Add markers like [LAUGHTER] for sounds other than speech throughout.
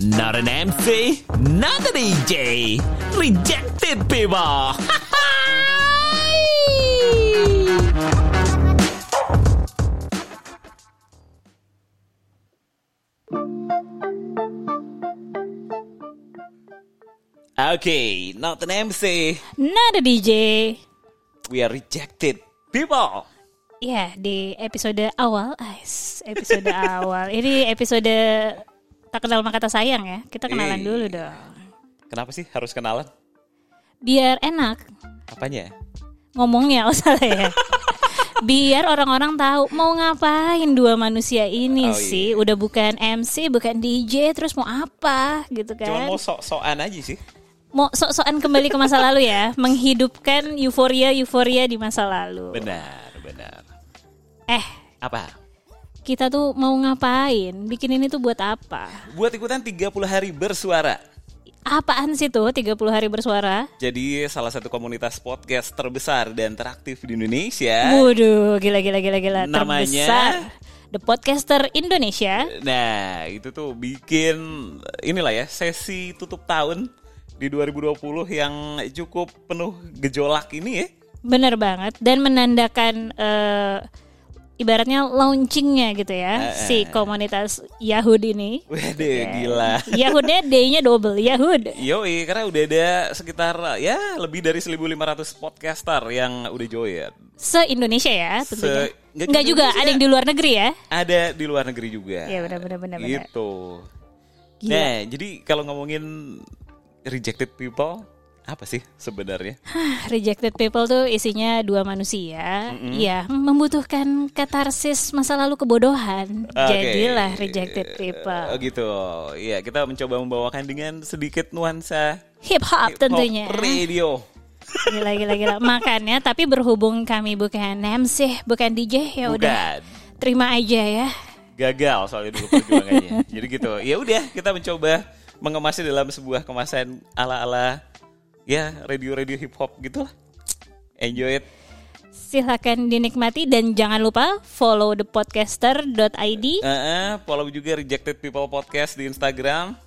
Not an MC, not an EJ. Rejected people. okay, not an MC. Nada DJ. We are rejected people. Ya, di episode awal, ais, [LAUGHS] episode awal. Ini episode tak kenal maka tak sayang ya. Kita kenalan Eh. dulu dong. Kenapa sih harus kenalan? Biar enak Apanya? ngomongnya, oh salah ya. [LAUGHS] Biar orang-orang tahu mau ngapain dua manusia ini Oh, iya. sih. Udah bukan MC, bukan DJ, terus mau apa gitu kan. Cuma mau sok-sokan aja sih. [LAUGHS] mau sok-sokan kembali ke masa lalu ya, menghidupkan euforia-euforia di masa lalu. Benar, benar. Eh, Apa? kita tuh mau ngapain? Bikin ini tuh buat apa? Buat ikutan 30 hari bersuara. Apaan sih tuh 30 hari bersuara? Jadi salah satu komunitas podcast terbesar dan teraktif di Indonesia. Waduh, gila gila gila gila Eh? Namanya? terbesar. The Podcaster Indonesia. Nah, itu tuh bikin inilah ya sesi tutup tahun di 2020 yang cukup penuh gejolak ini ya. Bener banget dan menandakan eh, ibaratnya launchingnya gitu Eh, ya si komunitas Yahud ini. Waduh, Iya. gila. Yahudnya D-nya double Yahud. Yoi, karena udah ada sekitar ya lebih dari 1.500 podcaster yang udah join. Se Indonesia ya tentunya. Se- nggak Enggak cuma juga, Indonesia. ada yang di luar negeri ya. Ada di luar negeri juga. Iya, benar, benar, benar, benar. Gitu. Gila. Nah, jadi kalau ngomongin rejected people, apa sih sebenarnya? Ah, Rejected people tuh isinya dua manusia ya membutuhkan katarsis masa lalu kebodohan. Ah, Oke. Jadilah rejected people. Oh gitu. Iya, kita mencoba membawakan dengan sedikit nuansa Hip hop tentunya. hip-hop radio. [LAUGHS] Gila gila gila. Makanya tapi berhubung kami bukan MC, bukan DJ ya udah Bukan. terima aja ya. Gagal soalnya dulu [LAUGHS] perjuangannya. jadi gitu. Ya udah, kita mencoba mengemasnya dalam sebuah kemasan ala-ala ya radio-radio hip hop gitu lah. Enjoy it. Silahkan dinikmati dan jangan lupa follow thepodcaster.id Eh, eh, follow juga Rejected People Podcast di Instagram.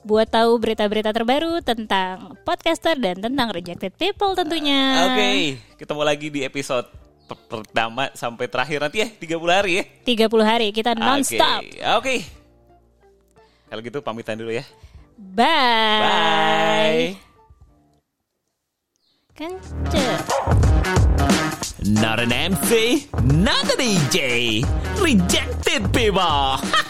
buat tahu berita-berita terbaru tentang podcaster dan tentang rejected people tentunya. Oke, ketemu lagi di episode per- pertama sampai terakhir nanti ya, 30 hari ya. 30 hari kita nonstop. Oke. Oke. Kalau gitu pamitan dulu ya. Bye. Bye. Kencet. Not an MC, not an EJ. Rejected people.